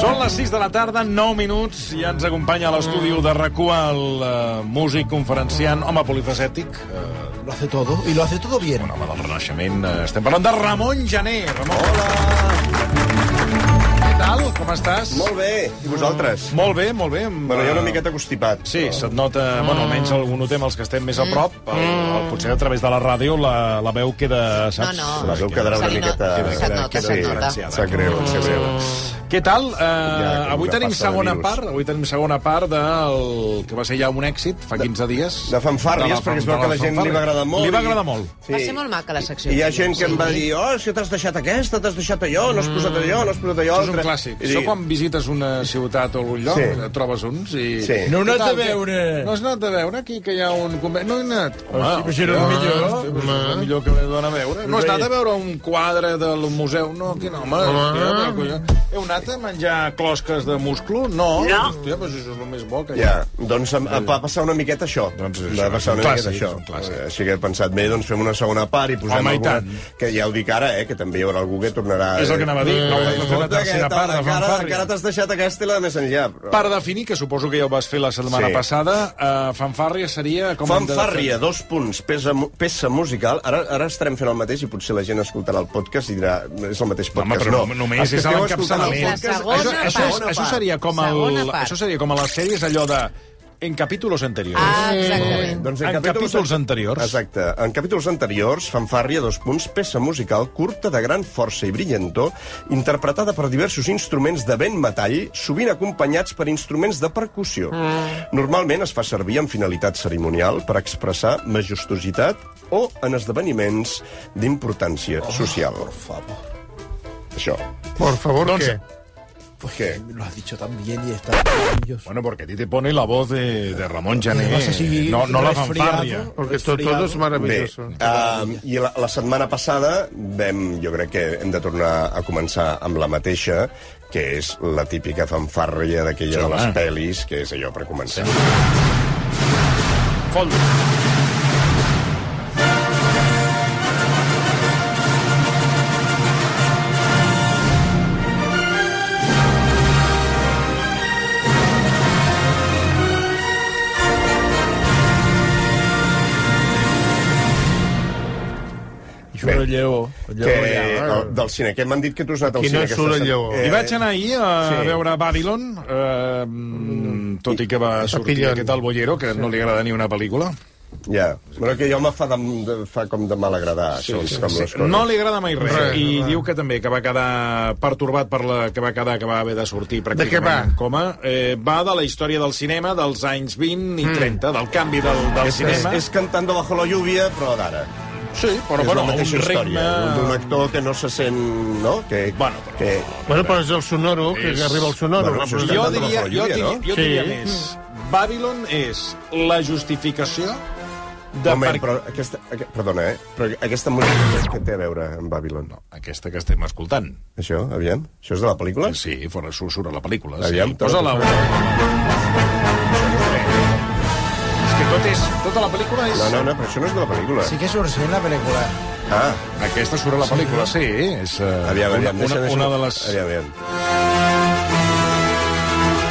Són les 6 de la tarda, 9 minuts, i ens acompanya a l'estudi de rac el eh, músic conferenciant, home polifacètic, eh, Lo hace todo y lo hace todo bien. un home del Renaixement. Eh, estem parlant de Ramon Jané. Ramon, Hola! què tal? Com estàs? Mm. Molt bé. I vosaltres? Molt bé, molt bé. Amb, Bueno, jo una eh, miqueta constipat. Sí, se't nota, bueno, Mm. almenys algun ho tem els que estem més a prop, el, el, potser a través de la ràdio la, la veu queda, saps? No, no. La veu quedarà Se una li no- miqueta... se't nota, se't sí, nota. sí, Sap greu, sap greu. Mm. Què tal? Uh, Ja, com avui que tenim passa de segona virus. part, avui tenim segona part del que va ser ja un èxit fa 15 dies. De fanfàrries, la perquè es veu de que la gent fanfàrria. li va agradar molt. Li va i- agradar molt. Sí. Va ser molt maca, la secció. I hi ha gent que em va Sí. dir, oh, és que t'has deixat aquesta, t'has deixat allò, no has posat allò, no has posat Mm. allò. Això és un altre." clàssic. I Això dic, quan visites una ciutat o algun lloc, Sí. sí. trobes uns i... Sí. No he anat Què tal, a veure. que- No has anat a veure aquí, que hi ha un convent? No he anat. sí, però si era el hòstia, millor. hòstia, però si era el millor que vaig anar a veure. No has anat a veure un quadre del museu? No, aquí no, home. Hòstia, però, collons. Heu anat a menjar closques de musclo? No. no. Hòstia, però si això és el més bo que hi ha. Ja, doncs em, em va passar una miqueta això. Eh. Doncs és va això, passar és un una clàssic, miqueta és un això. clàssic. Eh, Així que he pensat, bé, doncs fem una segona part i posem Home, i alguna... tant. Que ja ho dic ara, eh, que també hi haurà algú que tornarà... És el que anava a dir, Eh, no, hem de fer una fot tercera aquesta, part de la cara, fanfàrria. la cara t'has deixat aquesta i la de més enllà. Però... Per definir, que suposo que ja ho vas fer la setmana Sí. passada, uh, fanfàrria seria... Com hem de Fanfàrria, dos punts, peça, mu- peça musical. Ara, ara estarem fent el mateix i potser la gent escoltarà el podcast i dirà és el mateix podcast. però no, només Els que és a esteu l'encapçalament. escoltant el podcast- La segona Això, això, és, part. això, seria com Segona el, part. això seria com a les sèries allò de... En capítolos anteriors. Ah, exactament. Doncs En capítols anteriors. Exacte. En capítols anteriors, fanfàrria, dos punts, peça musical curta de gran força i brillantor, interpretada per diversos instruments de vent metall, sovint acompanyats per instruments de percussió. Normalment es fa servir amb finalitat cerimonial per expressar majestuositat o en esdeveniments d'importància Oh, social. Por favor. Això. Por favor, Doncs ¿qué? Què? Lo has dicho tan bien y está... Bueno, porque a ti te pone la voz de, de Ramon Jané. Vas a seguir No, no la resfriado. fanfàrria. Porque to- resfriado. todo es Bé, maravilloso. uh, i la, la setmana passada vam, jo crec que hem de tornar a començar amb la mateixa, que és la típica fanfàrria d'aquella de les home. pel·lis, que és allò per començar. Fondo. Bé, Lleó. que, eh? el, del cine, que m'han dit que tu has anat al Quina cine. surt el set- lleó? I vaig anar ahir a Sí. veure Babylon, eh, mm, tot i que va sortir Papillon. aquest al Bollero, que no li agrada ni una pel·lícula. Ja, però que jo me fa, de, de, fa com de mal agradar, sí, això, sí, com sí. les coses. No li agrada mai res. Res, I clar. diu que també, que va quedar pertorbat per la que va quedar, que va haver de sortir pràcticament què va? en coma. Eh, va de la història del cinema dels anys 20 i 30, del canvi del, del Mm. és, cinema. és cantando bajo la lluvia, però d'ara. sí, però és bueno, la un mateixa història. D'un ritme... actor que no se sent... No? Que, Bueno, però- que, Bueno, però és el sonoro, que És- arriba el sonoro. Bueno, això és Jo Cantando diria, bajo jo la lluvia, diria, no? jo diria Sí. més. Babylon és la justificació de Moment, per però aquesta, aqu perdona, eh? Però aquesta música que té a veure amb Babylon? No. aquesta que estem escoltant. Això, aviam? Això és de la pel·lícula? Sí, fora surt, surt a la pel·lícula. Aviam, sí. Posa-la. tot- És que tot és... Tota la pel·lícula és... No, no, no, però això no és de la pel·lícula. Sí que surgió en la película. Ah, Aquesta surt a la pel·lícula, sí. És uh, aviam, una, aviam. una, deixa, deixa, una de les... Aviam, aviam.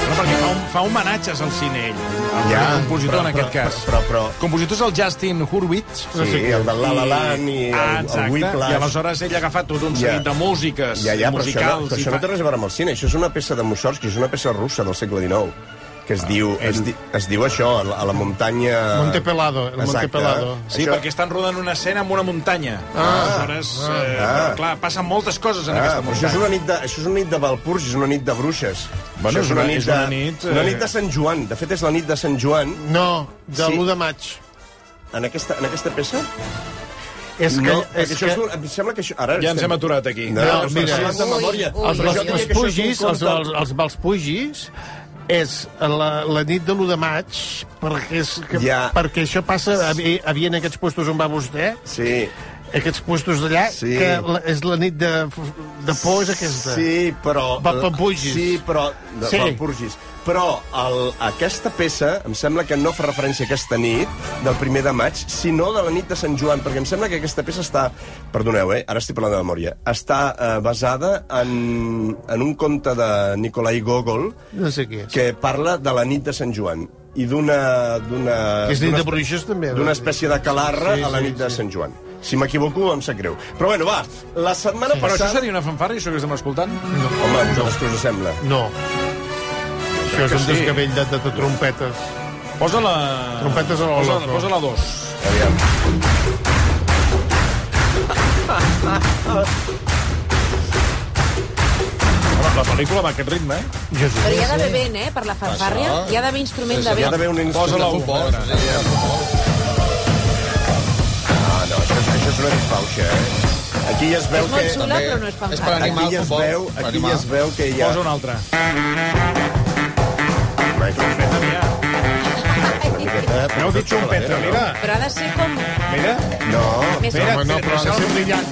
No, perquè fa, un, fa homenatges al cine, ell. Al Ja, compositor, però- en aquest però- cas. però- però- Compositor és el Justin Hurwitz. Sí, el de La La Land i el, ah, exacte. el Whiplash. I aleshores ell ha agafat tot un Ja. seguit de músiques Ja, ja, però això, no, musicals. però i això no fa- té res a veure amb el cine. Això és una peça de Mussorgsky, és una peça russa del segle XIX que Ah, es, diu, es, di, es diu això, a la, a la muntanya... Monte Pelado, el Monte Pelado. Sí, Això- perquè estan rodant una escena en una muntanya. Ah, Aleshores, eh, ah. clar, passen moltes coses en Ah, aquesta però això és muntanya. una nit de, això és una nit de Valpurs, és una nit de bruixes. Bueno, Això és una- és una nit, eh, Una nit de Sant Joan. De fet, és la nit de Sant Joan. No, de Sí. l'1 de maig. En aquesta, en aquesta peça? És que... No, és perquè això que... és un, em sembla que això... Ara Ja ens estem- hem aturat aquí. No, No, no, mira, mira, de memòria. Els, ui, Però els, jo els diria que això és un pugis, els, conte- els, els Valspugis, és la, la nit de l'1 de maig, perquè, és, que, Ja. perquè això passa a, Vi- a Viena, aquests puestos on va vostè, Sí, aquests puestos d'allà, Sí. que la, és la nit de, de por, Oh, és aquesta. Sí, però... Va- Valpurgis. Sí, però... De, Sí. sí. Valpurgis. Però el, aquesta peça em sembla que no fa referència a aquesta nit del primer de maig, sinó de la nit de Sant Joan, perquè em sembla que aquesta peça està... Perdoneu, eh? Ara estic parlant de memòria. Està eh, basada en, en un conte de Nikolai Gogol No sé què és. que parla de la nit de Sant Joan i d'una... d'una- Que és nit Eh, d'una de espe- bruixes, també, D'una no? espècie de calarra Sí, a la sí, nit de sí. Sant Joan. Si m'equivoco, em sap greu. Però bueno, va, la setmana Però això passada... seria una fanfarra, això que estem escoltant? Home, a vosaltres què us sembla? No. Això és que un sí. desgavell de, de, de trompetes. Posa-la... Trompetes a la Posa- loco. Posa-la dos. Aviam. Home, la pel·lícula va a aquest ritme, eh? Jo sí. Però hi ha d'haver vent, eh, per la fanfàrria. Hi ha d'haver instrument de Hi ha vent. d'haver un instrument Posa-la de un, futbol. pobre. Ah, no, això, és- això és una disbauxa, eh? Aquí ja es veu És que... molt xula, però no és és per fanfàrria. Aquí animar ja el es futbol. veu, per aquí animar. ja es veu que hi ha... Posa una altra. Michael, eh, No heu dit trompeta, mira. Però ha de ser com Mira, No, més... mira, Home, no, però ha de ser brillant.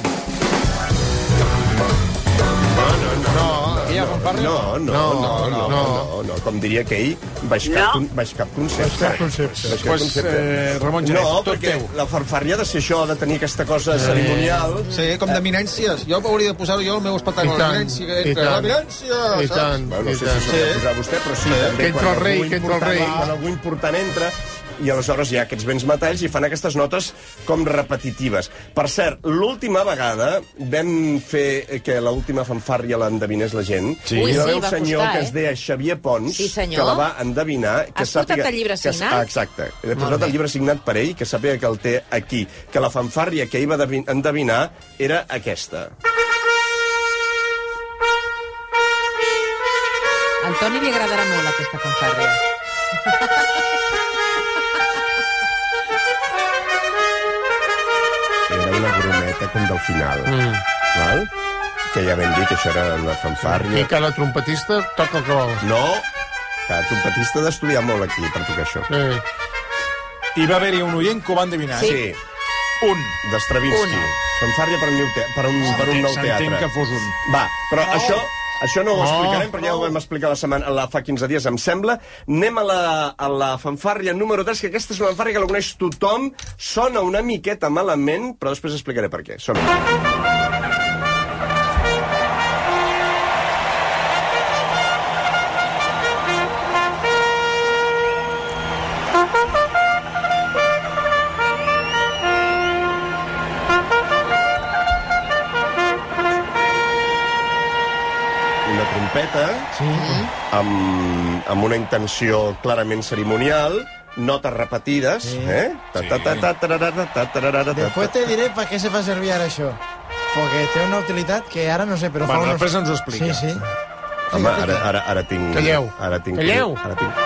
no, no, no, no, no, no. no, no, com diria aquell, baix cap, con- baix cap concepte. Baix cap concepte. Pues, eh, Ramon Gené, no, tot perquè teu. Eh. la farfàrria ha de ser això, ha de tenir aquesta cosa cerimonial. Sí, com d'eminències. Jo hauria de posar-ho jo al meu espectacle. I tant, L'eminència, que i entra. tant. L'eminència, I saps? tant, Bueno, no i sé tant. si s'ha de posar vostè, però sí. també Que entra quan el rei, algú que entra el important rei. va, Quan algú important entra, i aleshores hi ha aquests vents metalls i fan aquestes notes com repetitives. Per cert, l'última vegada vam fer eh, que l'última fanfàrria l'endevinés la gent. Sí. Ui, I hi va sí, haver un va senyor costar, que es eh? deia Xavier Pons, Sí, senyor. que la va endevinar. Que Has portat sàpiga- el llibre que s- signat? ah, Exacte. He portat el llibre signat per ell, que sàpiga que el té aquí. Que la fanfàrria que ell va devin- endevinar era aquesta. Al Toni li agradarà molt aquesta fanfàrria. era una brometa com del final. Mm. Val? Que ja vam dir que això era una fanfàrria. I cada trompetista toca el que vol. No, que un petista ha d'estudiar molt aquí per tocar això. Eh, Hi va haver-hi un oient que ho va endevinar. Sí, Un. d'Estravinsky. Fanfàrria per un, nou te- per un, per un nou S'entén teatre. que fos un. Va, però això... Això no ho Oh. explicarem, perquè ja ho vam explicar la setmana, la fa 15 dies, em sembla. Anem a la, a la fanfàrria número 3, que aquesta és una fanfàrria que la coneix tothom. Sona una miqueta malament, però després explicaré per què. Sona. una trompeta sí. amb, amb una intenció clarament cerimonial, notes repetides, sí. eh? Ta ta ta ta tararara, ta tararara, ta Después te diré para qué se fa servir ara això. Porque té una utilitat que ara no sé, però Bueno, fa unos... després ens ho explica. Sí, sí. Home, ara, ara, ara tinc... Calleu. Ara tinc... Calleu. Ara tinc...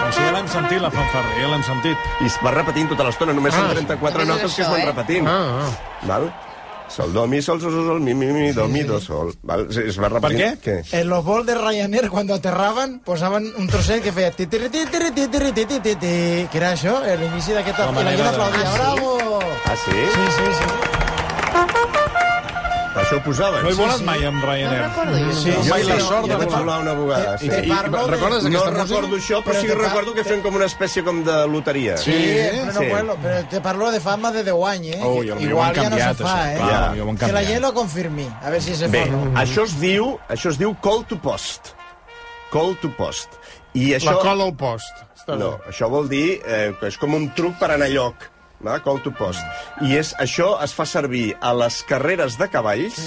O sigui, ja l'hem sentit, la fanfarra, ja l'hem sentit. I es va repetint tota l'estona, només són Ah. 34 Només és notes que es això, van eh? repetint. ah, ah. Val? Sol, do, mi, sol, sol, sol, sol, mi, mi, mi, do, mi, do, sol. Val? Es- Es va repetint... què? Què? En los vols de Ryanair, quan aterraven, posaven un trosset que feia... ti, tiri, ti, tiri, ti, tiri, ti, ti, ti, ti, que era això, l'inici La d'aquesta... I la manera gent de- aplaudia, bravo! Ah, sí? Sí, sí, sí. Per això ho posaven. No he volat mai amb Ryanair. Sí, No, jo mai sí, la no, sort ja de vaig volar. volar una Eh, vegada, sí. Te I- parlo de... recordes No aquesta música? recordo això, però Però sí te que pa- recordo que te- fem com una espècie com de loteria. Sí, però no Sí. vuelo, però te parlo de fama de 10 anys, eh? Ui, potser ho han Igual ja no se canviat, fa, això. eh? Clar, Ja. potser ho han Que la canviat. gent ho confirmi, a veure si se Bé, fa. o no. això es diu, això es diu call to post. Call to post. I això... La cola al post. Està No, bé. això vol dir eh, que és com un truc per anar a lloc. Va? Call to post. I és, això es fa servir a les carreres de cavalls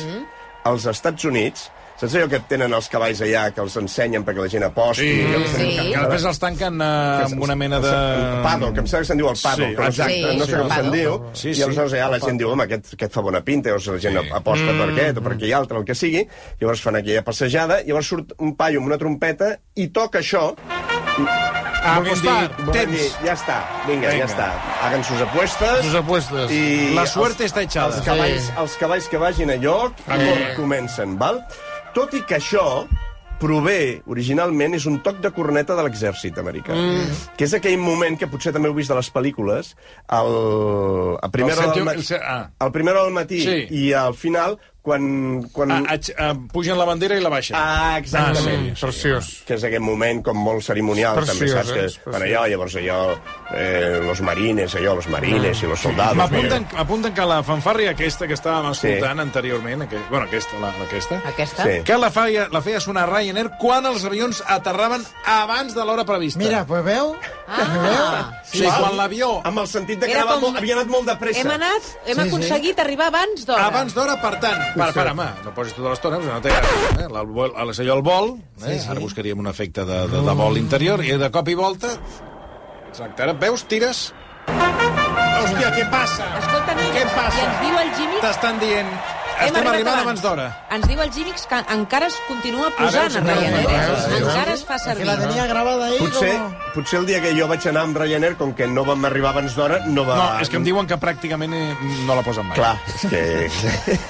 als Estats Units. Saps allò que tenen els cavalls allà, que els ensenyen perquè la gent aposti? Sí, sí. Que després els tanquen eh, amb una mena de... Pado, que em sembla que se'n diu el pado, Sí, però exacte, sí, no sí, sé com el se'n pado. diu, Sí, i aleshores sí. ja la gent diu, home, aquest, aquest fa bona pinta, llavors la gent aposta per Mm. aquest o per aquell altre, el que sigui, llavors fan aquella passejada, llavors surt un paio amb una trompeta i toca això, i, Ah, Volem apostar. dir- volem Tens. dir, Ja està, vinga, Vinga. ja està. Hagan sus apuestes. Sus apuestes. I La els- suerte está echada. Els cavalls, els cavalls que vagin a lloc a cor- comencen, val? Tot i que això prové, originalment, és un toc de corneta de l'exèrcit americà. Mm. Que és aquell moment que potser també heu vist de les pel·lícules, el, a primera El hora sentiu- del el matí, se- ah. al primera hora del matí Sí. i al final, quan... quan... Ah, aix- ah, pugen la bandera i la baixen. ah Ah, sí, exactament. preciós. que és aquest moment com molt cerimonial, Preciós, també, saps? eh? És Que, preciós. bueno, allò, llavors allò, eh, los marines, allò, los marines i los soldados. Ah. M'apunten mira. m'apunten que la fanfàrria aquesta que estàvem escoltant Sí. anteriorment, aquest, bueno, aquesta, la, aquesta, Aquesta? Sí. que la feia, la feia sonar Ryanair quan els avions aterraven abans de l'hora prevista. Mira, pues veu? Ah, o sigui, quan l'avió Amb el sentit de que Era anava com- molt, havia anat molt de pressa. hem anat, hem Sí, sí. aconseguit arribar abans d'hora. Abans d'hora, per tant... Per, per, home, no posis tota l'estona, doncs no t'agrada. Eh? El vol, el, allò, el vol, eh? sí, sí. ara buscaríem un efecte de, de, de vol interior, i de cop i volta... Exacte, ara et veus, tires... Hòstia, què passa? Escolta, no, Què I passa? ens diu el Gímix... T'estan dient... hem Estem arribat arribant abans d'hora. Ens diu el Gímix que encara es continua posant veus, a Ryanair. veus, eh? Encara es fa Que servir. la tenia gravada ahir Potser, com... potser el dia que jo vaig anar amb Ryanair, com que no vam arribar abans d'hora, no va... No, és que em diuen que pràcticament eh, no la posen mai. Clar, és que...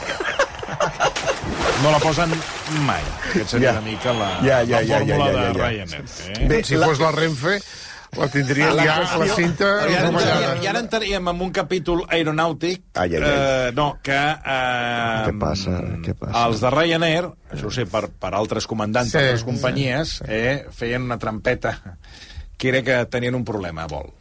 No la posen mai. Aquest seria Ja. una mica la, la Ja, ja, ja, ja, fórmula ja, ja, de ja. Ryanair. Eh? Bé, Si la- fos la Renfe, la tindria La ja qüestió- la cinta Però I ara, rovellada. entraríem, I ara entraríem en un capítol aeronàutic Ai, ai, ai. Eh, no, que... Eh, Què passa? Què passa? Els de Ryanair, això ho sé, per, per altres comandants sí, Sí, d'altres sí. companyies, eh, feien una trampeta que era que tenien un problema a vol.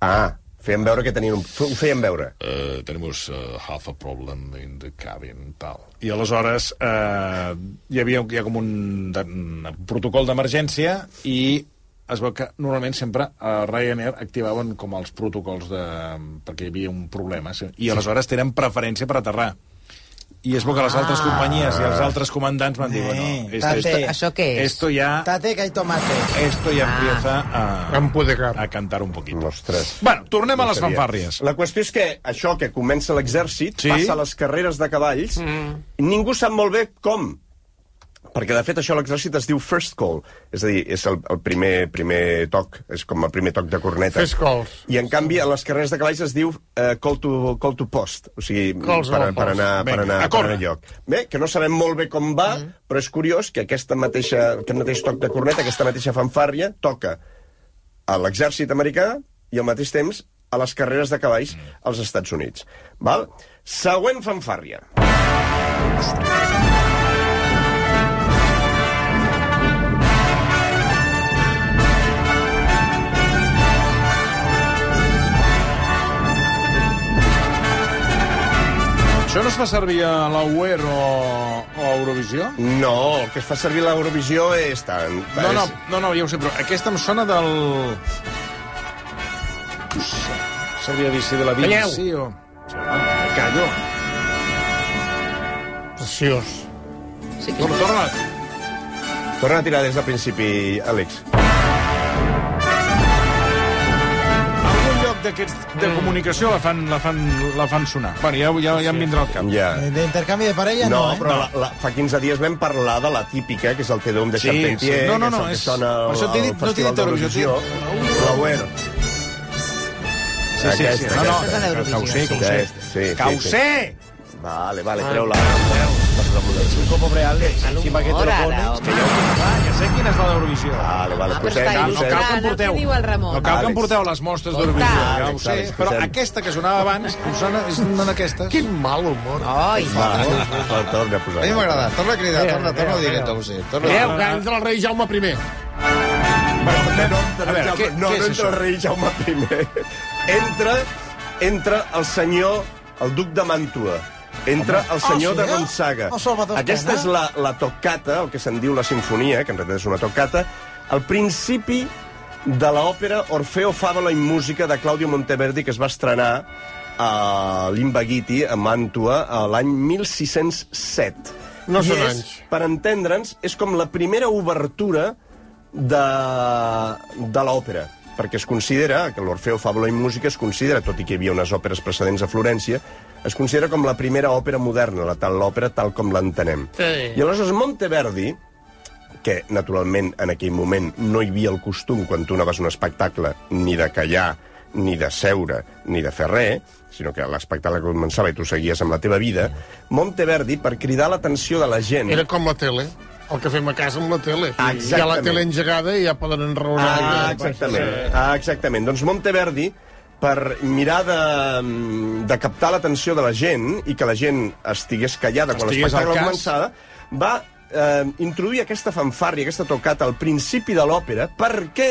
Ah, feien veure que tenien un... Ho feien veure. Uh, tenemos uh, half a problem in the cabin, tal. I aleshores uh, hi havia hi ha com un, de, un protocol d'emergència i es veu que normalment sempre a Ryanair activaven com els protocols de... perquè hi havia un problema, sí. i aleshores tenen preferència per aterrar. I es veu que les altres companyies i els altres comandants van dir, Eh, bueno, tate. Això què és? Esto ya, Tate, que hay tomate. esto ya empieza Em a, poder cap. a cantar un poquito. Ostres. Bueno, tornem a les sabia. fanfàrries. La qüestió és que això que comença l'exèrcit Sí. sí? passa a les carreres de cavalls mm. ningú sap molt bé com. Perquè, de fet, això a l'exèrcit es diu first call. És a dir, és el, el primer primer toc, és com el primer toc de corneta. First calls. I, en canvi, a les carreres de cavalls es diu eh, call, to, call to post, o sigui, Calls per, on per, post. anar, per, Vinga, anar, a per córrer. anar a lloc. Bé, que no sabem molt bé com va, mm. però és curiós que aquesta mateixa, aquest mateix toc de corneta, aquesta mateixa fanfàrria, toca a l'exèrcit americà i al mateix temps a les carreres de cavalls als Estats Units. Val? Següent fanfàrria. Això no es fa servir a la UER o, o a Eurovisió? No, el que es fa servir a l'Eurovisió és tant... No, no, és- no, no, ja ho sé, però aquesta em sona del... Sabia dir si de la Calleu. Vinci o... Sí, home, Callo. Preciós. Sí, que Torna, torna. Torna a tirar des del principi, Àlex. Algun lloc d'aquests de Mm. comunicació la fan, la fan, la fan sonar. Bueno, ja, ja, ja em vindrà al cap. Ja. Eh, D'intercanvi de parella, No, no, eh? però la, la, fa 15 dies vam parlar de la típica, que és el Te Deum de Sí, Charpentier, sí. No, no, no, que és- és el que sona per al, això t'he dit- no al t'he Festival dit Eurovisió, d'Eurovisió. Però bueno, Sí, sí, sí. Aquesta, No, no, aquesta. que- que ho sé, que ho sé. Aquesta, sí, sí, Que ho sí. sé! Vale, vale, treu-la. Hora, ara, home. Ah, ja sé quina és la d'Eurovisió. Vale, vale, Ah, però posem, està Cal, no posem. cal que em Ara, porteu. què diu el Ramon? No cal que em Àlex. porteu les mostres d'Eurovisió, ja ho Àlex, sé. Àlex, Però posem. aquesta que sonava abans, em sona, és una d'aquestes. Quin mal humor. Ai, Va, el torna a posar. A mi m'agrada. Torna a cridar, torna, torna a dir Adéu, que ho sé. Torna a Veieu dir. que entra el rei Jaume I. No, A veure, què, què no, no és entra això? el rei Jaume I. Entra, entra el senyor, el duc de Mantua. Entra el senyor sí, de eh? Gonzaga. El Salvador Aquesta Escena. és la, la toccata, el que se'n diu la sinfonia, que en realitat és una toccata, al principi de l'òpera Orfeo, Fàbula i Música de Claudio Monteverdi, que es va estrenar a l'Imbaghiti, a Màntua, a l'any 1607. No I són és, anys. Per entendre'ns, és com la primera obertura de, de l'òpera perquè es considera, que l'Orfeo Fàbula i Música es considera, tot i que hi havia unes òperes precedents a Florència, es considera com la primera òpera moderna, la tal l'òpera tal com l'entenem. Sí. I aleshores Monteverdi, que, naturalment, en aquell moment no hi havia el costum, quan tu anaves a un espectacle, ni de callar, ni de seure, ni de fer res, sinó que l'espectacle començava i tu seguies amb la teva vida, Monteverdi, per cridar l'atenció de la gent... Era com la tele, el que fem a casa amb la tele. Exactament. Hi ha la tele engegada i ja poden enraonar. Ah, I- exactament. Ah, exactament. Doncs Monteverdi, per mirar de, mm, de captar l'atenció de la gent i que la gent estigués callada quan Estigués l'espectacle al cas. començava, va eh, introduir aquesta fanfàrria, aquesta tocata al principi de l'òpera. Per què?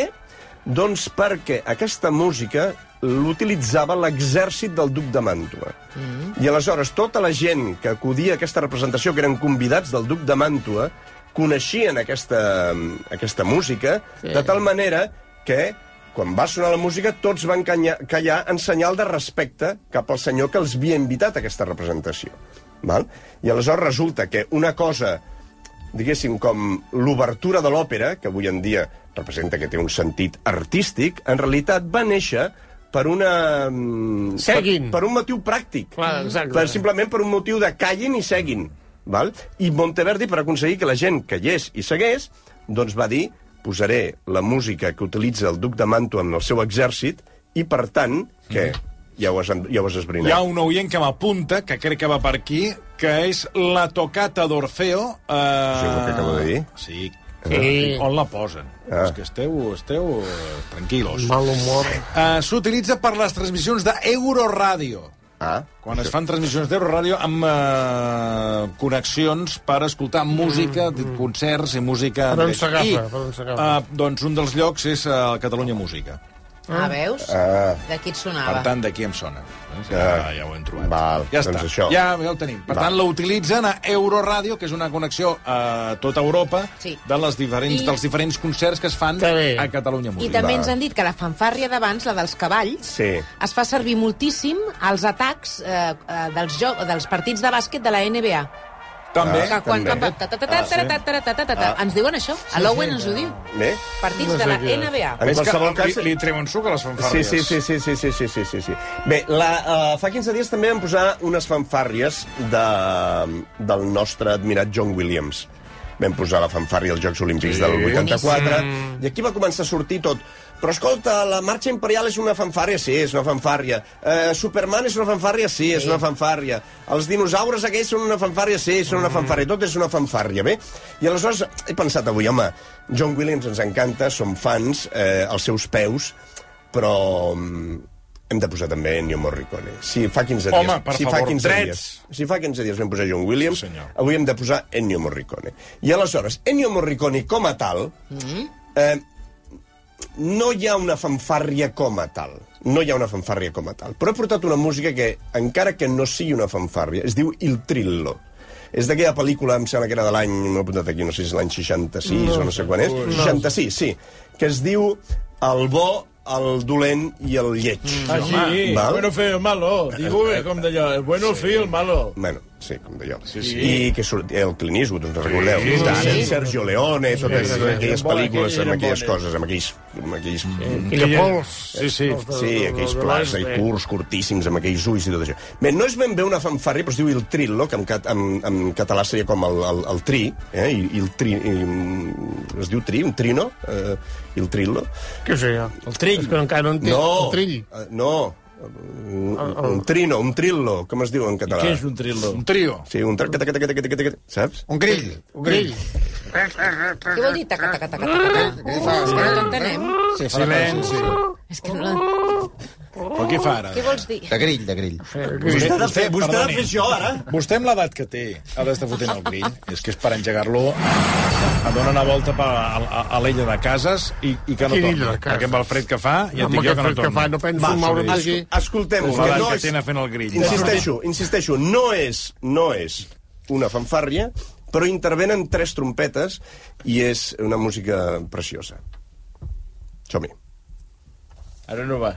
Doncs perquè aquesta música l'utilitzava l'exèrcit del duc de Màntua. Mm. I aleshores tota la gent que acudia a aquesta representació, que eren convidats del duc de Màntua, coneixien aquesta, mm, aquesta música, sí. de tal manera que quan va sonar la música, tots van canya- callar en senyal de respecte cap al senyor que els havia invitat a aquesta representació. Val? I aleshores resulta que una cosa diguéssim, com l'obertura de l'òpera, que avui en dia representa que té un sentit artístic, en realitat va néixer per una... mm, Seguin. Per, per un motiu pràctic. Clar, exacte. Per, simplement per un motiu de callin i seguin. Val? I Monteverdi, per aconseguir que la gent callés i segués, doncs va dir posaré la música que utilitza el duc de Mantua amb el seu exèrcit i, per tant, que ja ho has, en- ja ho has esbrinat. Hi ha un oient que m'apunta, que crec que va per aquí, que és la tocata d'Orfeo. Eh... Això és el que acabo de dir? Sí. Sí. On la posen? Ah. Ah. És que esteu, esteu eh, tranquil·los. Mal humor. Eh, S'utilitza per les transmissions d'Euroradio. Ah, Quan es fan transmissions d'Euroradio amb eh, connexions per escoltar música, mm, concerts i música... Per on en s'agafa, directe. per on I, s'agafa. eh, doncs un dels llocs és eh, Catalunya Música. Ah, veus? Ah. D'aquí et sonava. Per tant, d'aquí em sona. Ja, ja ho hem trobat. Val, ja doncs està. això. Ja, ja ho tenim. Per Val. tant, la utilitzen a Euroradio, que és una connexió a tota Europa Sí. de les diferents, I- dels diferents concerts que es fan Que bé. a Catalunya I Música. també Va. ens han dit que la fanfàrria d'abans, la dels cavalls, Sí. es fa servir moltíssim als atacs eh, eh, dels, joc, dels partits de bàsquet de la NBA. També. que quan, també. quan, ta, ta, ta, ta, ta, ta, ta, ta, ta, ta, ta, ens diuen això, a l'Owen ens ho diu. Bé. Partits de la NBA. En Ves que qualsevol cas- li, li treuen suc a les Sí, fanfàrries. sí, sí, sí, sí, sí, sí, sí, sí, sí. Bé, la, uh, fa 15 dies també vam posar unes fanfàrries de, del nostre admirat John Williams. Vam posar la fanfàrria als Jocs Olímpics sí, del 84, i aquí va començar a sortir tot. Però escolta, la marxa imperial és una fanfàrria? Sí, és una fanfàrria. Eh, Superman és una fanfàrria? Sí, és una fanfàrria. Els dinosaures aquells són una fanfàrria? Sí, són una fanfàrria. Tot és una fanfàrria, bé? I aleshores he pensat avui, home, John Williams ens encanta, som fans, eh, els seus peus, però mm, hem de posar també Ennio Morricone. Si fa 15 dies... Home, per si favor, fa 15 drets. Dies, si fa 15 dies vam posar John Williams, Sí, senyor. avui hem de posar Ennio Morricone. I aleshores, Ennio Morricone com a tal... Mm -hmm. eh, no hi ha una fanfàrria com a tal. No hi ha una fanfàrria com a tal. Però he portat una música que, encara que no sigui una fanfàrria, es diu Il Trillo. És d'aquella pel·lícula, em sembla que era de l'any... M'ho he apuntat aquí, no sé si és l'any 66 no, o no sé quan és. 66, sí. Que es diu El bo, el dolent i el lleig. Així, Val. el bueno feo el malo. Digo, eh, com d'allò, el bueno sí. el malo. Bueno, sí, com d'allò. Sí, sí. I que surt el Clint Eastwood, doncs recordeu. Sí, sí, sí, sí. Sergio Leone, totes sí, sí. aquelles Eren bones, pel·lícules eren amb aquelles bones. coses, amb aquells... Amb aquells I que pols. Sí, sí. Sí, aquells plats i curts, curtíssims, amb aquells ulls i tot això. Bé, no és ben bé una fanfàrria, però es diu il trillo, que en, cat, en, en català seria com el, el, el tri, eh? I, il tri, i, mm, es diu tri, un trino, eh, il trillo. Què sé jo? El trill. És que encara no entenc. No, El trill. eh, no, un, un trino, un trillo, com es diu en català? Què és un trillo? Un trio. Sí, un tra... Cata, cata, cata, cata, cata, cata, saps? Un grill. Un grill. Què vol dir taca, taca, taca, taca, taca? És que no t'entenem. Sí, fa la Silenci. És que no... Però què fa ara? Què vols dir? De grill, de grill. Vostè ha de fer, vostè, vostè ha de perdoni. fer això, ara. Vostè amb l'edat que té ha d'estar fotent el grill. És que és per engegar-lo a donar una volta per a, a, a l'illa de cases i, i que no Quina torni. illa de cases? Aquest mal fred que fa, ja et Home, dic jo aquest que no fred que torna. fa, no penso moure'm sobre- d'aquí. Escoltem, És l'edat que tenen fent el grill. Insisteixo, insisteixo, no és, no és una fanfàrria, però intervenen tres trompetes i és una música preciosa. Som-hi. Ara no va.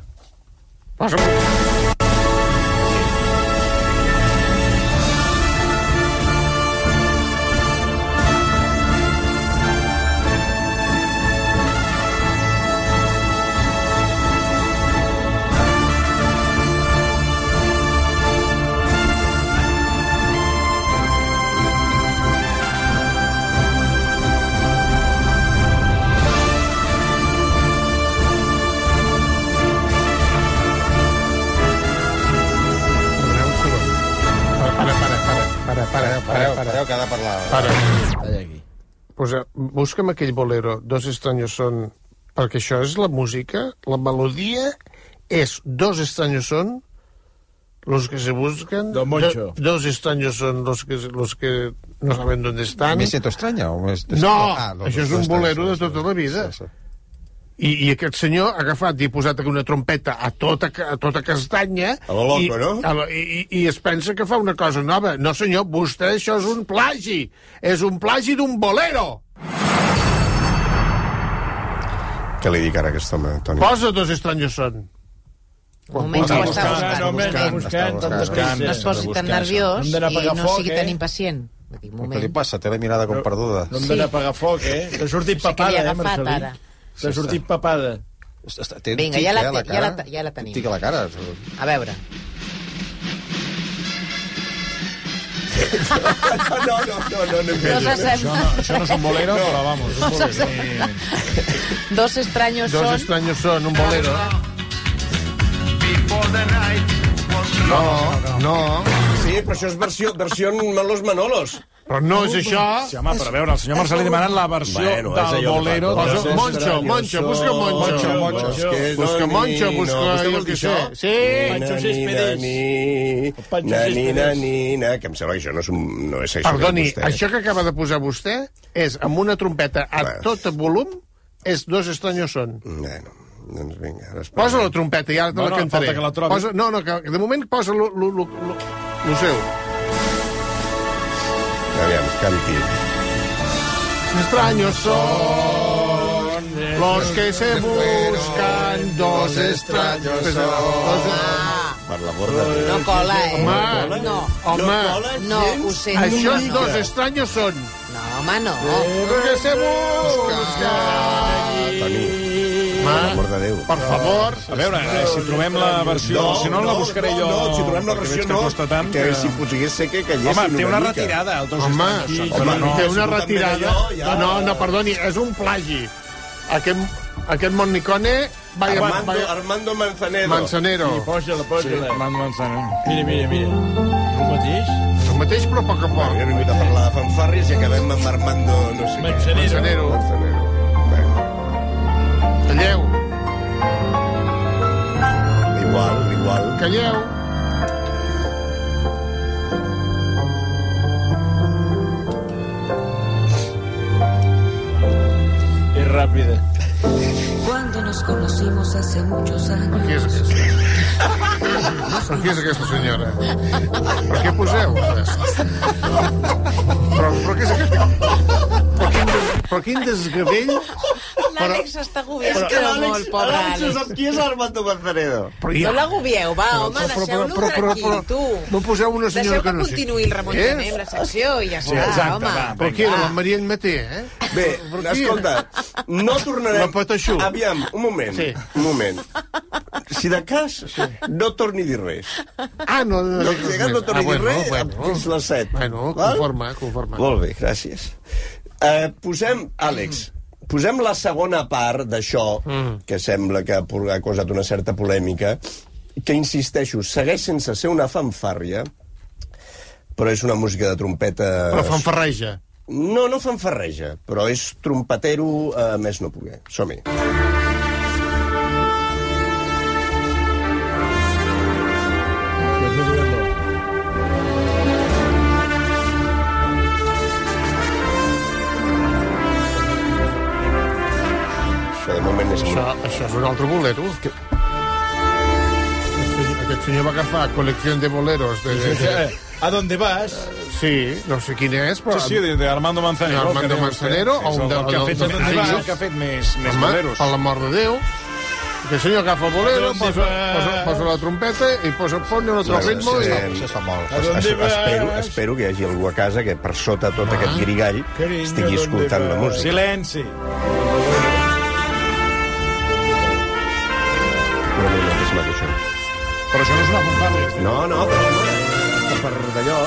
para, para, para, Pareu, para. pareu, que ha de parlar. Para. Talla aquí. Posa, busca'm aquell bolero, Dos estranyos són... Perquè això és la música, la melodia és Dos estranyos són los que se buscan... Del Moncho. Do- dos estranyos són los que, los que no saben dónde están. Me siento extraña? O Ah, es... No, Ah, això doncs és un bolero de tota la vida. Sí, sí. I, I aquest senyor ha agafat i ha posat una trompeta a tota, ca- a tota castanya... A la loco, i, no? A la, i, i- I es pensa que fa una cosa nova. No, senyor, vostè això és un plagi. És un plagi d'un bolero. Què li dic ara a aquest home, Toni? Posa dos estranyos són. Almenys ho està buscant. Eh, Home, no buscant, Està tanta buscant, No es pressa. posi tan nerviós Hem i d'anar a pagar no foc, sigui eh? tan impacient. Vull dir, un Què li moment. passa? Té la mirada com perduda. No em Sí. dóna a pagar foc, eh? T'ha sortit sé què li papada, ha eh, agafat, Marcelí? ara. T'ha sortit papada. Està- Té un Vinga, tic, ja la eh, a te- ja la cara. te- ja la tenim. Tic a la cara. A veure. No, no, no, no, no, No s'assembla. Això no és un bolero, però vamos, és un bolero. Dos estranyos Dos són... estranyos són un bolero. No, no. Sí, però això és versió, versió en Malos Manolos. Però no és això. Sí, home, però a veure, el senyor Marcelí demanant la versió Bueno, és del allò de bolero... Paco. dels Posa, Estranyos Moncho, Moncho, busca Moncho. Moncho, Moncho, és que és Busca el Moncho, nino. busca Vostè jo vol dir què sé. això? Sí. Pancho Nani, Céspedes. nani, Pancho nani, Céspedes. nani, na, que em sembla que això no és, un- no és això que Perdoni, vostè- això que acaba de posar vostè és amb una trompeta a Res. tot volum és dos estranyos són. Bueno, doncs vinga, ara espera. Posa la trompeta i ara te No, la no, cantaré. falta que la trobi. posa, no, no, que, que de moment posa lo, lo, lo, lo, lo seu. Aviam, canti. Estranyos són los que se buscan dos estranyos són. Per la borda de... No cola, eh? Home. No, Home, no, ho sento. això és no. dos estranyos són. No, home, no. Los que se buscan. Toni, per l'amor Home, de Déu. per favor. A veure, eh, si trobem la versió... si no, la buscaré no, jo... No, si trobem la perquè versió veig no, costa tant que, si potser ser que callessin Home, té una mica. retirada, el dos Home, estranyos sí, són, però però no... té una és un retirada. també d'allò, ja. No, no, perdoni, és un plagi. Aquest, aquest Monicone... Vaya, Armando, vaya, Armando Manzanedo. Manzanero. Posa-la, posa-la. Armando Manzano. Mira, mira, mira. El mateix? El mateix, però a poc a Jo he poc. vingut a parlar de fanfarris i acabem amb Armando no sé què. Manzanero. Manzanero. Bueno, Calleu, igual, igual. calleu. És ràpida. Cuando nos conocimos hace muchos años. Qui és aquesta? Però Qui és aquesta senyora? Per què poseu? Però, però què és aquest? Però quin, des, però quin desgavell... L'Àlex està agobiat però molt, pobre Àlex. qui és Armando Manzanedo? Però No l'agobieu, va, home, deixeu-lo tranquil, tu. No poseu una senyora Deixeu que que no sé. continuï el remuntament amb la secció i ja està, exacte, home. va. Però qui era? La Maria Enmeté, eh? Bé, Però qui era? escolta, no tornarem... La Patachú. Aviam, un moment, Sí. un moment. Si de cas, no torni a dir res. Ah, no, no, Ah, No, si de cas no torni a dir res, eh. Bueno, fins les 7. bueno conforme, conforme. Molt bé, gràcies. Eh, posem, Àlex, posem la segona part d'això, mm. que sembla que ha por- ha causat una certa polèmica, que, insisteixo, segueix sense ser una fanfàrria, però és una música de trompeta... Però fanfarreja. No, no fanfarreja, però és trompetero a eh, més no poder. Som-hi. Això de moment és... Això, això és un altre bolero. Que... Aquest senyor va agafar col·lecció de boleros. De, de, de... Eh, A dónde vas? Sí, no sé quin és, però... Sí, sí, de, de Armando Manzanero. De Armando el que deia Manzanero vostè. o És un de- el que ha fet, del- més- del- és el que ha fet més, més Home, boleros. per l'amor de Déu. Aquest senyor agafa el bolero, Doncs posa, va. posa, posa la trompeta i posa, pone un altre ritme Sí, i... això es fa molt. A dónde Es- es- Espero, vas? espero que hi hagi algú a casa que per sota tot aquest grigall Cariño, estigui escoltant ¿dónde la vas? música. Silenci. Però no, no, és maco, això. Però això no és una fanfàrria. No, no, però... no, Per d'allò...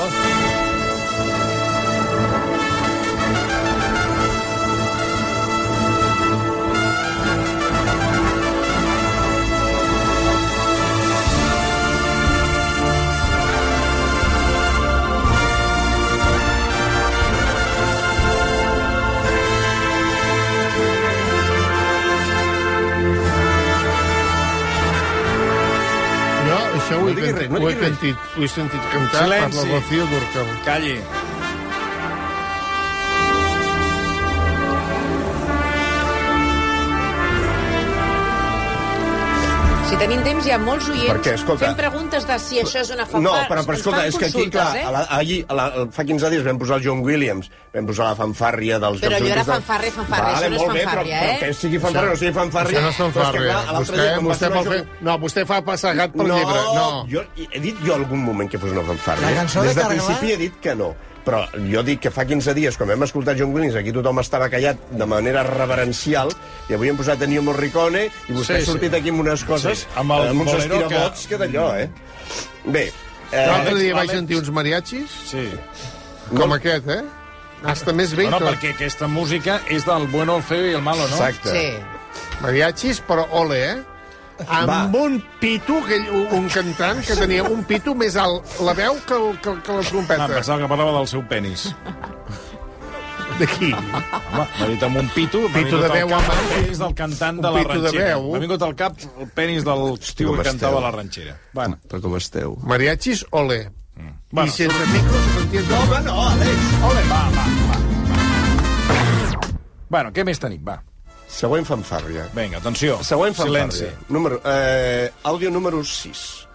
ho he sentit, ho he sentit cantar per Silenci. la Rocío Durcal. Calli. Si tenim temps, hi ha molts oients Per què? Escolta- fent preguntes de si això és una fanfarra. No, però, però Ens escolta, fan és que aquí, consultes, clar, eh? a la, ahir, a la, fa 15 dies vam posar el John Williams, vam posar la fanfàrria dels... Jocs Però allò era Olímpics de- fanfarre, fanfarre, això no és molt bé, fanfarria, però, eh? però que sigui fanfàrria o no sigui fanfàrria... Això no és però que, fanfàrria. clar, a l'altre vostè, dia, quan va vostè sonar vol fer... Joan- No, vostè fa passegat pel llibre. No. Jo, he dit jo algun moment que fos una fanfàrria. La cançó de Des de Carglaç? principi he dit que no. Però jo dic que fa 15 dies, quan vam escoltar John Williams, aquí tothom estava callat de manera reverencial, i avui hem posat a Nio Morricone, i vostè Sí, sí, ha sortit sí. aquí amb unes coses, Sí, sí, amb el amb uns bolero que- estirabots que, d'allò, eh? Bé, eh, L'altre dia Àlex, vaig Àlex. sentir uns mariachis, Sí. com aquest, eh? Hasta més vell No, no, tot. perquè aquesta música és del bueno, el feo i el malo, no? exacte. Sí. Mariachis, però ole, eh? Amb Va. un pitu, aquell, un- un cantant que tenia un pitu més alt la veu que, el- que, que Ah, la em trompeta. pensava que parlava del seu penis. D'aquí. Home, m'ha dit amb un pito... m'ha Pitu vingut de al veu, cap home. El penis del cantant Un de la pitu de ranxera. veu. M'ha vingut al cap el penis del tio com que esteu. cantava la ranxera. Bueno, Però com esteu? Mariachis, ole. Mm. Bueno, I sense micros, sentia... No, va, no, Alex. Ole, va, va. bueno, què més tenim? Va, Següent fanfàrria. vinga, atenció. Següent fanfàrria. Silenci. Número, eh, àudio número 6.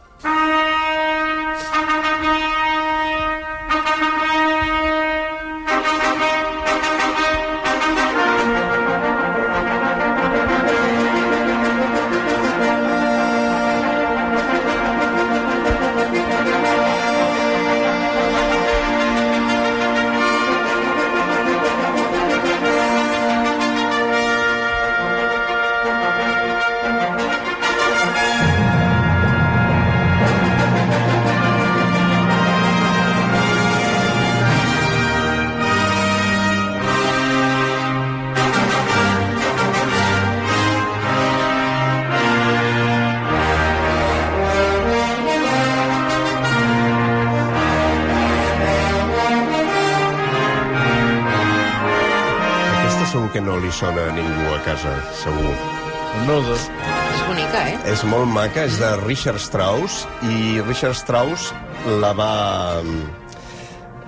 Aquesta segur que no li sona a ningú a casa, segur. És bonica, eh? És molt maca, és de Richard Strauss, i Richard Strauss la va...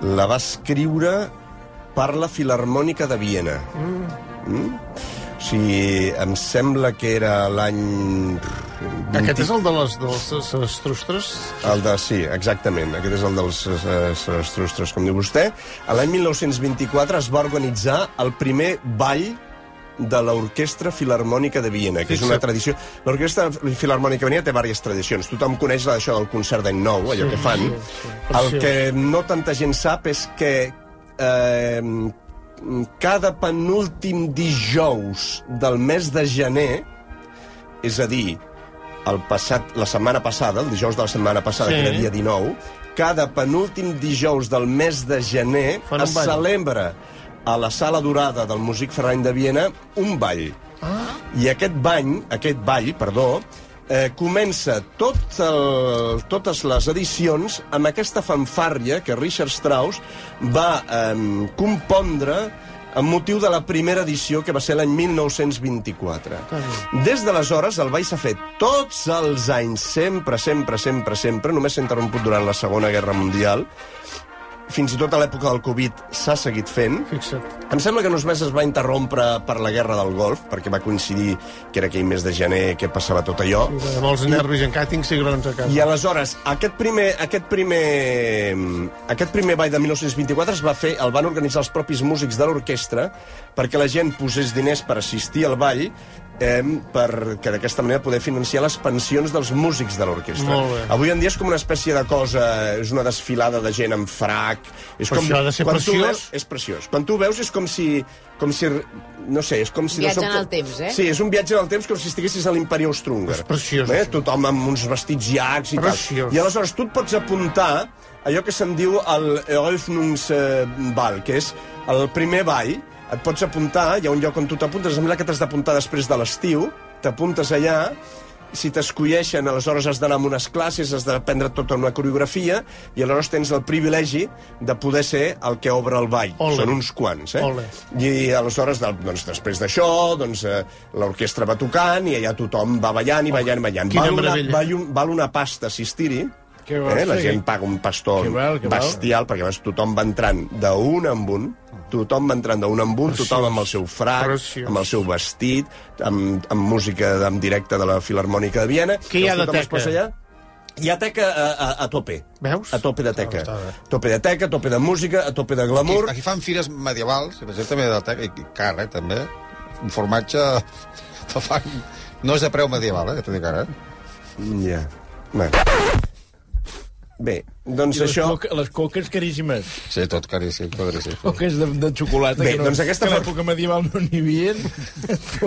la va escriure per la Filarmònica de Viena. Mm. Mm? O sigui, em sembla que era l'any... Aquest és el de les, de les, les, les trustres? El de, sí, exactament. Aquest és el dels eh, Sarastrostres, com diu vostè. A L'any 1924 es va organitzar el primer ball de l'Orquestra Filarmònica de Viena, que és una tradició... L'Orquestra Filarmònica de Viena té diverses tradicions. Tothom coneix la d'això del concert d'any nou, allò que fan. El que no tanta gent sap és que eh, cada penúltim dijous del mes de gener, és a dir, el passat, la setmana passada, el dijous de la setmana passada, sí. que era dia 19, cada penúltim dijous del mes de gener Fan un es ball. celebra a la Sala Dorada del Músic Ferrany de Viena un ball. Ah. I aquest bany, aquest ball, perdó, eh, comença tot el, totes les edicions amb aquesta fanfàrria que Richard Strauss va eh, compondre amb motiu de la primera edició, que va ser l'any 1924. Des d'aleshores, el ball s'ha fet tots els anys, sempre, sempre, sempre, sempre, només s'ha interromput durant la Segona Guerra Mundial, fins i tot a l'època del Covid s'ha seguit fent. Fixa't. Em sembla que en uns mesos es va interrompre per la Guerra del Golf, perquè va coincidir que era aquell mes de gener que passava tot allò. Amb els nervis, encara tinc cigrons a casa. I aleshores, aquest primer, aquest primer, aquest primer ball de 1924 es va fer, el van organitzar els propis músics de l'orquestra perquè la gent posés diners per assistir al ball eh, per que d'aquesta manera poder financiar les pensions dels músics de l'orquestra. Molt bé. Avui en dia és com una espècie de cosa, és una desfilada de gent amb frac... És Però com, això ha de ser quan tu preciós. Veus, és preciós. Quan tu ho veus és com si... Com si no sé, és com si... Viatge de sobte- en el temps, eh? Sí, és un viatge en el temps com si estiguessis a l'imperi austro-húngar. És preciós, Eh? això. Tothom amb uns vestits llargs i Preciós. tal. I aleshores tu et pots apuntar allò que se'n diu el Eröffnungsball, que és el primer ball. Et pots apuntar, hi ha un lloc on tu t'apuntes, em sembla que t'has d'apuntar després de l'estiu, t'apuntes allà, si t'escolleixen, aleshores has d'anar a unes classes, has d'aprendre tota una coreografia, i aleshores tens el privilegi de poder ser el que obre el ball. Ole. Són uns quants, eh? Ole. I aleshores, del- doncs, després d'això, doncs, eh, l'orquestra va tocant i allà tothom va ballant i ballant i ballant. Quina val, una, meravella. val, un, val una pasta assistir-hi, Què vols eh? La fer? gent paga un pastor Què val, què val? bestial, perquè abans tothom va entrant d'un en un, tothom va entrant d'un en un, tothom amb el seu frac, Preciós. amb el seu vestit, amb, amb música en directe de la Filarmònica de Viena. Què hi ha Llavors de tothom es teca? posa Allà. Hi ha teca a, a, a tope. Veus? A tope de teca. està bé. Tope de teca, tope de música, a tope de glamour. Aquí, aquí fan fires medievals, per exemple, també de teca, i car, eh, també. Un formatge de fan... No és de preu medieval, eh, que t'ho dic ara. eh? Ja. Bé. Bé, doncs I les, això... coca, les coques caríssimes. Sí, tot caríssim, caríssim. Coques de, de xocolata Bé, que, no, doncs aquesta que a fa- l'època medieval no n'hi havia.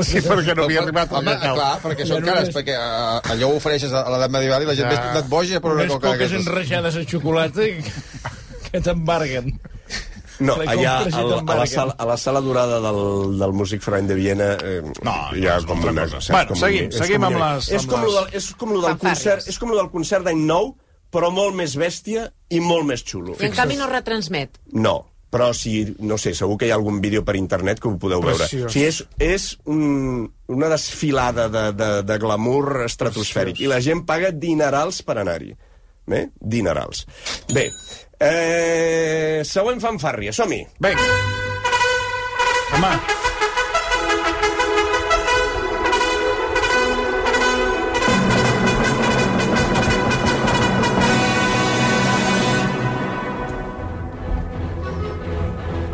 Sí, perquè no havia arribat al Home, Natal. clar, perquè són Ja no cares, és- perquè eh, allò ho ofereixes a l'edat medieval i la gent Ja. ja. més boja per una Unes coca coques d'aquestes. enreixades a xocolata que, que t'embarguen. No, La allà, compres i a la, a, la t'embarques. sala, a la sala dorada del, del músic Freund de Viena... Eh, No, hi ha és com altra una... cosa. saps? Bueno, com, seguim, és seguim com amb una- les- És amb com, lo les- del, és com lo del Fanfàrries. concert, és com lo del concert d'any nou, però molt més bèstia i molt més xulo. I en canvi no retransmet. No, però si, no sé, segur que hi ha algun vídeo per internet que ho podeu veure. Preciós. O sigui, és, és un, una desfilada de, de, de glamour estratosfèric i la gent paga dinerals per anar-hi. Bé? Dinerals. Bé, eh, següent fanfàrria, som-hi. Vinga. Home,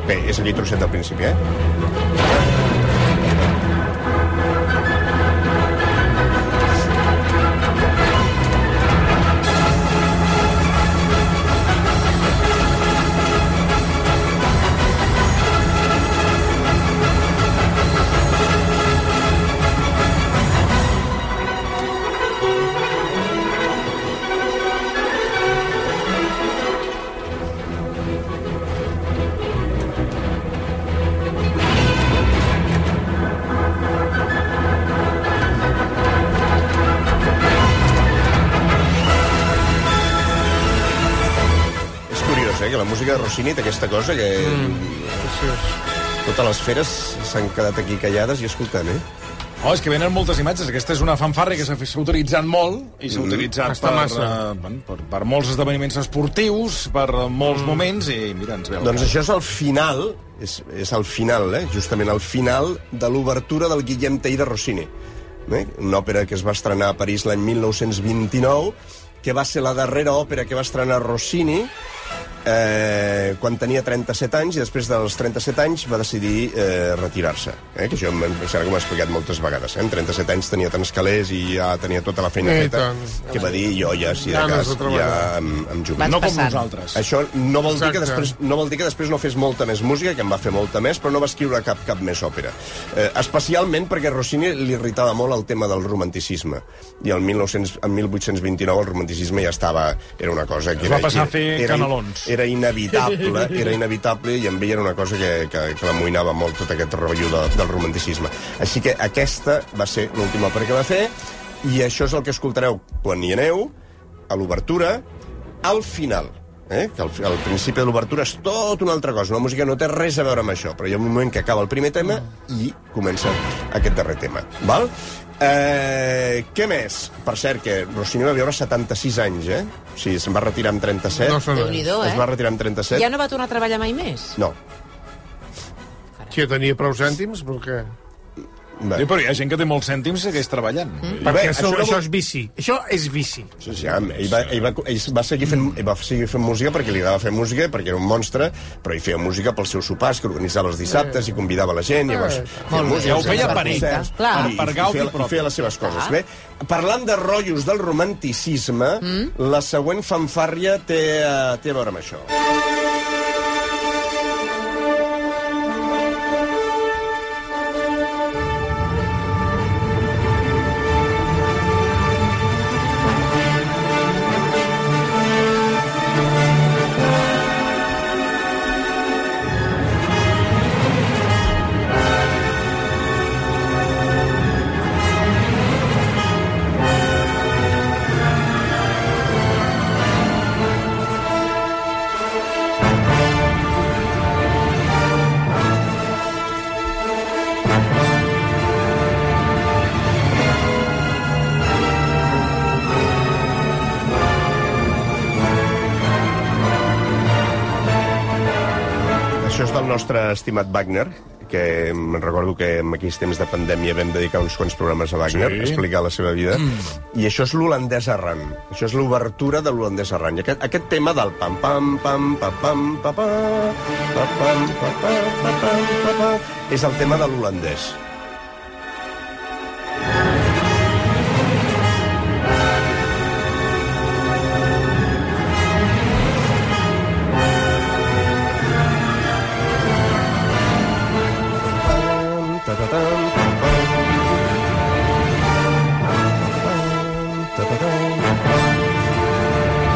Bé, és aquell trosset del principi, eh? És curiós, eh, que la música de Rossini té aquesta cosa que... Mm. Totes les feres s'han quedat aquí callades i escoltant, eh? Oh, és que venen moltes imatges. Aquesta és una fanfarra que s'ha s'ha utilitzat molt i s'ha Mm-hmm. utilitzat Està per, massa. eh, bueno, per, per molts esdeveniments esportius, per eh, molts Mm. moments, i mira, ens ve el Doncs cas. això és el final, és, és el final, eh? justament el final de l'obertura del Guillem Tell de Rossini. Eh? Una òpera que es va estrenar a París l'any 1929, que va ser la darrera òpera que va estrenar Rossini eh, quan tenia 37 anys i després dels 37 anys va decidir eh, retirar-se. Eh? Que jo em em sembla que m'ho he explicat moltes vegades. Eh? Amb 37 anys tenia tants calés i ja tenia tota la feina I feta tant. que va dir jo ja, si de Ganes cas, de ja treballar. em, em jubilo. Vaig No com passant. nosaltres. Això no vol, dir que Exacte. després, no vol dir que després no fes molta més música, que en va fer molta més, però no va escriure cap, cap més òpera. Eh, especialment perquè a Rossini li irritava molt el tema del romanticisme. I el 1900, en 1829 el romanticisme ja estava... Era una cosa que Es va era, passar a era- fer era, canelons. Era inevitable, era inevitable i en ell era una cosa que, que, que l'amoïnava molt tot aquest rotllo de, del romanticisme. Així que aquesta va ser l'última òpera que va fer i això és el que escoltareu quan hi aneu, a l'obertura, al final. Eh? Que al, fi- al principi de l'obertura és tot una altra cosa. La música no té res a veure amb això, però hi ha un moment que acaba el primer tema i comença aquest darrer tema. Val? Eh, què més? Per cert, que Rossini va viure 76 anys, eh? O sigui, se'n va retirar amb 37. no són res. Déu-n'hi-do, Es va eh? retirar amb 37. Ja no va tornar a treballar mai més. No. Si jo tenia prou cèntims, perquè... Bé. Sí, però hi ha gent que té molts cèntims i segueix treballant. Mm. Bé, Perquè això, això no això vol- és vici. Això és vici. Sí, sí, am, ell, va, ell, va, ell va, seguir fent, ell va seguir fent música perquè li agradava fer música, perquè era un monstre, però ell feia música pels seus sopars, que organitzava els dissabtes i convidava la gent, i llavors feia música... Ja ho feia organitzava per ell, concerts, clar. i, Per i Gaudi feia, propi. i feia les seves coses. Bé, parlant de rotllos del romanticisme, mm? la següent fanfàrria té, eh, té a veure amb això. Això és del nostre estimat Wagner, que em recordo que en aquells temps de pandèmia vam dedicar uns quants programes a Wagner, Sí. sí. explicar la seva vida. Mm. I això és l'holandès errant. Això és l'obertura de l'holandès errant. I aquest, aquest tema del pam pam pam pa pam pa pa pa pam pa pa pa pam pa pa és el tema de l'holandès.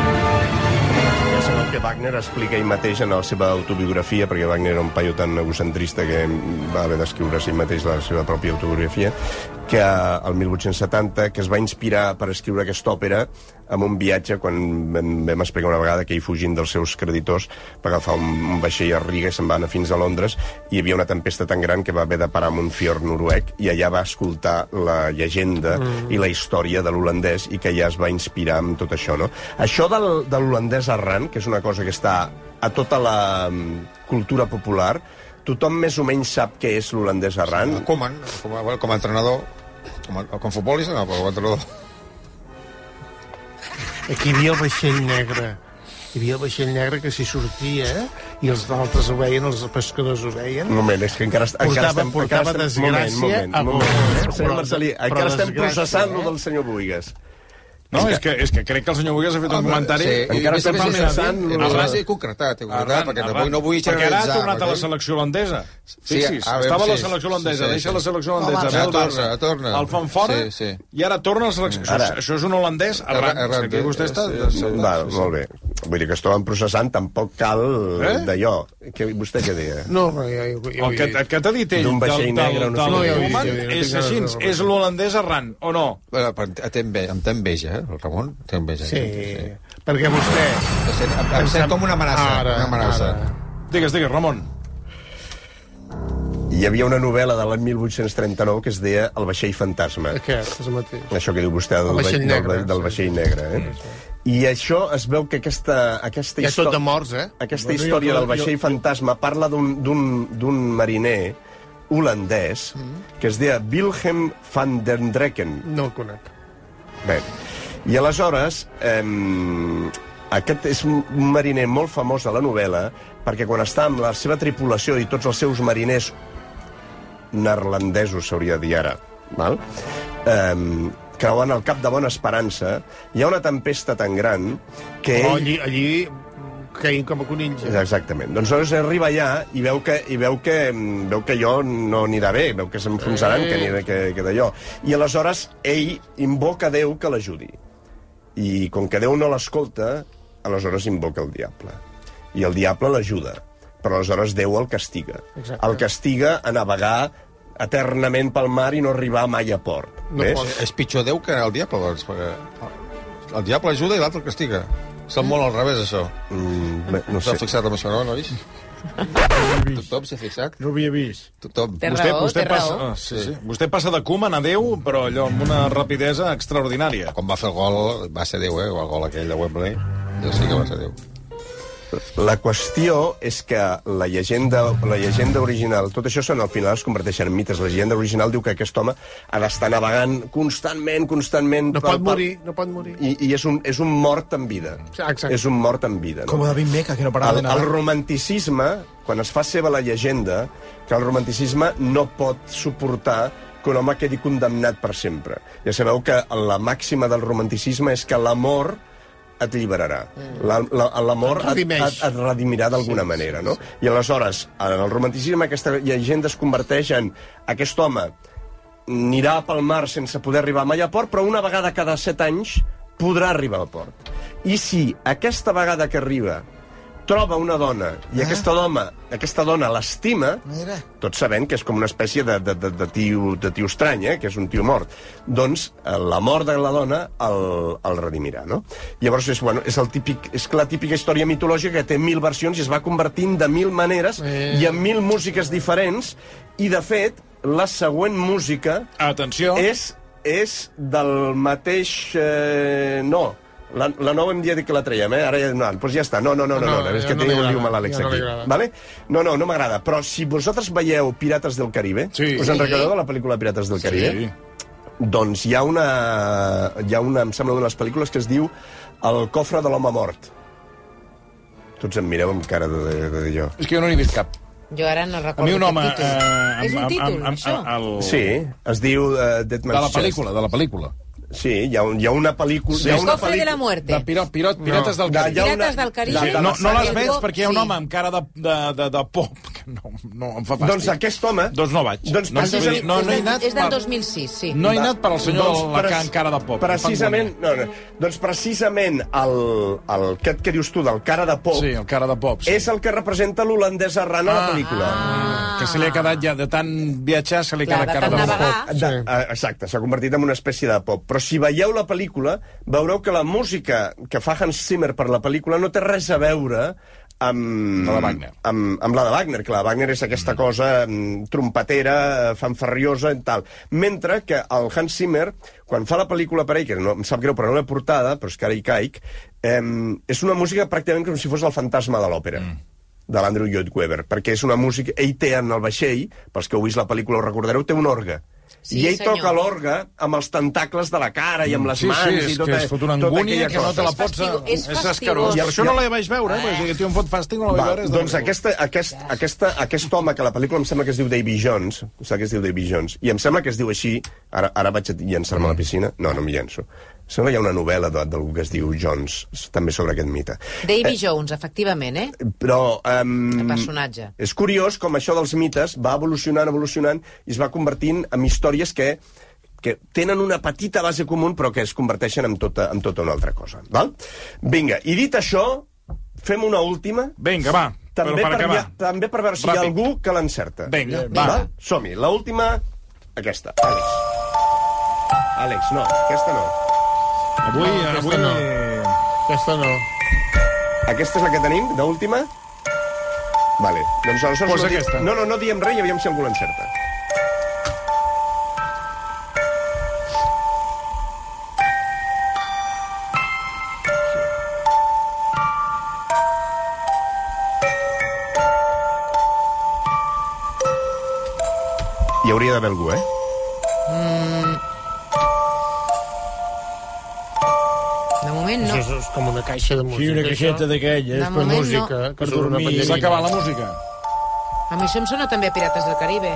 Ja sabeu que Wagner explica ell mateix en la seva autobiografia, perquè Wagner era un paio tan egocentrista que va haver d'escriure a si mateix la seva pròpia autobiografia, que el 1870 que es va inspirar per escriure aquesta òpera amb un viatge, quan vam, vam explicar una vegada que ell fugint dels seus creditors va agafar un, un vaixell a Riga i se'n va anar fins a Londres i hi havia una tempesta tan gran que va haver de parar en un fiord noruec i allà va escoltar la llegenda mm. i la història de l'holandès i que ja es va inspirar amb tot això, no? Això del, de l'holandès errant, que és una cosa que està a tota la mm, cultura popular, tothom més o menys sap què és l'holandès errant. Koeman, com, a, com a entrenador, com, a, com a futbolista, no, però com a entrenador. Aquí hi havia el vaixell negre. Hi havia el vaixell negre que s'hi sortia eh? i els d'altres ho veien, els pescadors ho veien. Un moment, és que encara, est- Portava- encara estem... portava encara estem, desgràcia moment, a moment, moment, Boga, eh? moment. Senyor Però- Marcelí, però encara estem desgràcia, processant lo eh? del senyor Boigues. No, és que, és que crec que el senyor Bugues ha fet un comentari... Ah, Sí, Encara encara estem estem processant... processant Ah, Ara l'holandès. he concretat, he Arran, concretat, perquè Arran. avui no vull Perquè ara ha generalitzar, tornat a la perquè- selecció holandesa. Fixi's, a veure, estava a la sí, selecció holandesa, sí, sí, deixa sí. la selecció holandesa, Home, ve el torna, Barça, torna. el fan fora, Sí, sí. i ara torna a la selecció. Això, Ara. és- això és un holandès Arran, errant. arran, Aquí vostè eh, està... doncs, sí, sí. Va, molt bé. Vull dir que es troben processant, tampoc cal eh? Eh? d'allò. Que vostè què deia? No, però ja, ja, ja, El que, el que t'ha dit ell D'un del, vaixell del, negre, del, no sé del què. No, ja ho he Koeman vist, ja ho he vist, és no tinc així, ganes de és l'holandès errant, o no? Bueno, però té enve- Em té enveja, eh, el Ramon? Té enveja. Sí, perquè vostè... Em sent, em, em sent com una amenaça. Ara, una amenaça. ara. Digues, digues, Ramon. Hi havia una novel·la de l'any 1839 que es deia El vaixell fantasma. Aquest és el mateix. Això que diu vostè del, El va- vaixell negre, del, va- del sí. vaixell negre. Eh? I això es veu que aquesta, aquesta Hi ha tot histò- de morts, eh? Aquesta història del vaixell fantasma parla d'un- d'un d'un mariner holandès que es deia Wilhelm van den Drecken. No el conec. Bé, i aleshores... Eh, aquest és un un mariner molt famós a la novel·la perquè quan està amb la seva tripulació i tots els seus mariners neerlandesos, s'hauria de dir ara, val? Eh, creuen el cap de Bona Esperança, hi ha una tempesta tan gran que ell... Però Oh, allí, allí caïn com a conills. eh? Exactament. Doncs aleshores arriba allà i veu que, i veu que, mm, veu que allò no anirà bé, veu que s'enfonsaran, Eh. que, anirà- que, que d'allò. I aleshores ell invoca a Déu que l'ajudi. I com que Déu no l'escolta, aleshores invoca el diable. I el diable l'ajuda, però aleshores Déu el castiga. Exacte. El castiga a navegar eternament pel mar i no arribar mai a port. No Ves? pot. És pitjor Déu que el diable, doncs, perquè el diable ajuda i l'altre el castiga. Se'n molt al revés, això. Mm, bé, no S'ha sé. fixat en això, no, nois? Tothom s'ha fixat? No ho havia vist. Tothom. Té Vostè, raó, vostè, té passa, raó. ah, sí, sí. vostè passa de Koeman a Déu, però allò amb una rapidesa extraordinària. Quan va fer el gol, va ser Déu, eh? El gol aquell de Wembley. Jo sí que va ser Déu. La qüestió és que la llegenda, la llegenda original, tot això són al final es converteixen en mites. La llegenda original diu que aquest home ha d'estar navegant constantment, constantment... No pot morir, no pot morir. I, i és, un, és un mort en vida. Exacte. És un mort en vida. No? Com David Meca, que no parava de El, el nadar. romanticisme, quan es fa seva la llegenda, que el romanticisme no pot suportar que un home quedi condemnat per sempre. Ja sabeu que la màxima del romanticisme és que l'amor et lliberarà. La- la- L'amor Et et, et, redimeix. et, redimirà d'alguna manera, no? I aleshores, en el romanticisme, aquesta llegenda es converteix en aquest home anirà pel mar sense poder arribar mai a port, però una vegada cada set anys podrà arribar a port. I si aquesta vegada que arriba troba una dona i aquesta, dona, aquesta dona l'estima, Mira. tot sabent que és com una espècie de, de, de, de, tio, de tio estrany, eh? que és un tio mort, doncs eh, la mort de la dona el, el redimirà. No? Llavors és, bueno, és, el típic, és la típica història mitològica que té mil versions i es va convertint de mil maneres eh. i en mil músiques diferents i, de fet, la següent música Atenció. és, és del mateix... Eh, no, La, la 9 hem dit que la traiem, eh? Ara ja, no, doncs ja està. No, no, no, no, no, No, no, és ja que no teniu un li agrada, lío mal l'Àlex ja no li aquí. agrada. Vale? No, no, no m'agrada. Però si vosaltres veieu Pirates del Caribe, Sí. us en recordeu de la pel·lícula Pirates del Caribe? Sí. Doncs hi ha una... Hi ha una, em sembla, d'una de les pel·lícules que es diu El cofre de l'home mort. Tots em mireu amb cara de, de, de jo. És que jo no n'he vist cap. Jo ara no recordo A mi un home... aquest títol. eh, és un títol, això? el... Sí, es diu uh, Dead Oh. De Man's la pel·lícula, de la pel·lícula. Chest. Sí, hi ha, un, hi ha una pel·lícula... Sí. Hi ha El una cofre de la muerte. De pirot, pirot, pirates del Ja, Caribe. hi ha Pirates del Caribe. La- Sí, de la no, no les sèrie- veig perquè hi ha un Sí. home amb cara de, de, de, de pop que no, no em fa fàstic. Doncs aquest home... Doncs no vaig. Doncs no, precisament- vull dir, no, no he és, anat del, és del per- 2006, sí. No he anat per al senyor Doncs de la pres- can cara de pop. Precisament, no, no, doncs precisament el, el que et que dius tu del cara de pop Sí, Ah. sí. el cara de pop. Sí. és el que representa l'holandès arran a la pel·lícula. Que se li ha quedat ja de tant viatjar, se li ha Clar, quedat de cara tant de pop. navegar. De, eh, Exacte, s'ha convertit en una espècie de pop. Però si veieu la pel·lícula, veureu que la música que fa Hans Zimmer per la pel·lícula no té res a veure amb La de Wagner. Amb, amb la de Wagner, clar. Wagner és aquesta cosa mm, trompetera, eh, fanfarriosa i tal. Mentre que el Hans Zimmer, quan fa la pel·lícula per ell, que no, em sap greu, però no l'he portada, però és que ara hi caic, eh, és una música pràcticament com si fos el fantasma de l'òpera. Mm de l'Andrew Lloyd Webber, perquè és una música... Ell té en el vaixell, pels que heu vist la pel·lícula ho recordareu, té un orgue. Sí, I ell senyor. toca l'orgue amb els tentacles de la cara i amb les Sí, mans sí, és i tota, que es fot una tota angúnia aquella que no cosa. te la És pots... eh, fastigo- és fastigós. escarós. I per això no la vaig veure, eh? Ah. Perquè tio em fot fàstic, no la vaig Va, veure. és de doncs maco. aquesta, aquest, aquesta, aquest home, que a la pel·lícula em sembla que es diu Davy Jones, em sembla que es diu Davy Jones, i em sembla que es diu així, ara, ara vaig a llançar-me a la piscina, no, no m'hi llenço, em sembla que hi ha una novel·la de- d'algú que es diu Jones, també sobre aquest mite. Davy Jones, efectivament, eh? Però... Um, El personatge. És curiós com això dels mites va evolucionant, evolucionant, i es va convertint en històries que que tenen una petita base comú, però que es converteixen en tota, en tota una altra cosa. Val? Vinga, i dit això, fem una última, Vinga, va. també però per, per per, acabar. també per veure si hi ha Ràpid. algú que l'encerta. Vinga, va. va. va. Som-hi, l'última, aquesta. Àlex. Àlex, no, aquesta no. Avui, avui... no. Aquesta no. Aquesta és la que tenim, d'última? Vale. Doncs aleshores... Posa no, di- aquesta. no, no, no diem res i aviam si algú l'encerta. Hi hauria d'haver algú, eh? De moment no. Això és com una caixa de eh? música. Sí, Doncs una caixeta això. d'aquelles, De per moment, música, no. per dormir. Sí. S'ha acabat la música. A mi això em sona també a Pirates del Caribe.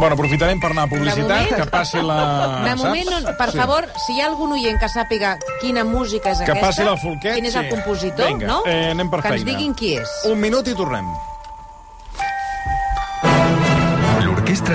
Bueno, aprofitarem per anar a publicitat, moment- que passi la... De moment, no, per Sí. favor, si hi ha algun oient que sàpiga quina música és Que aquesta... passi la Folquet, Quin és el sí. compositor, Vinga, no? eh, anem per que ens feina. diguin qui és. Un minut i tornem. L'Orquestra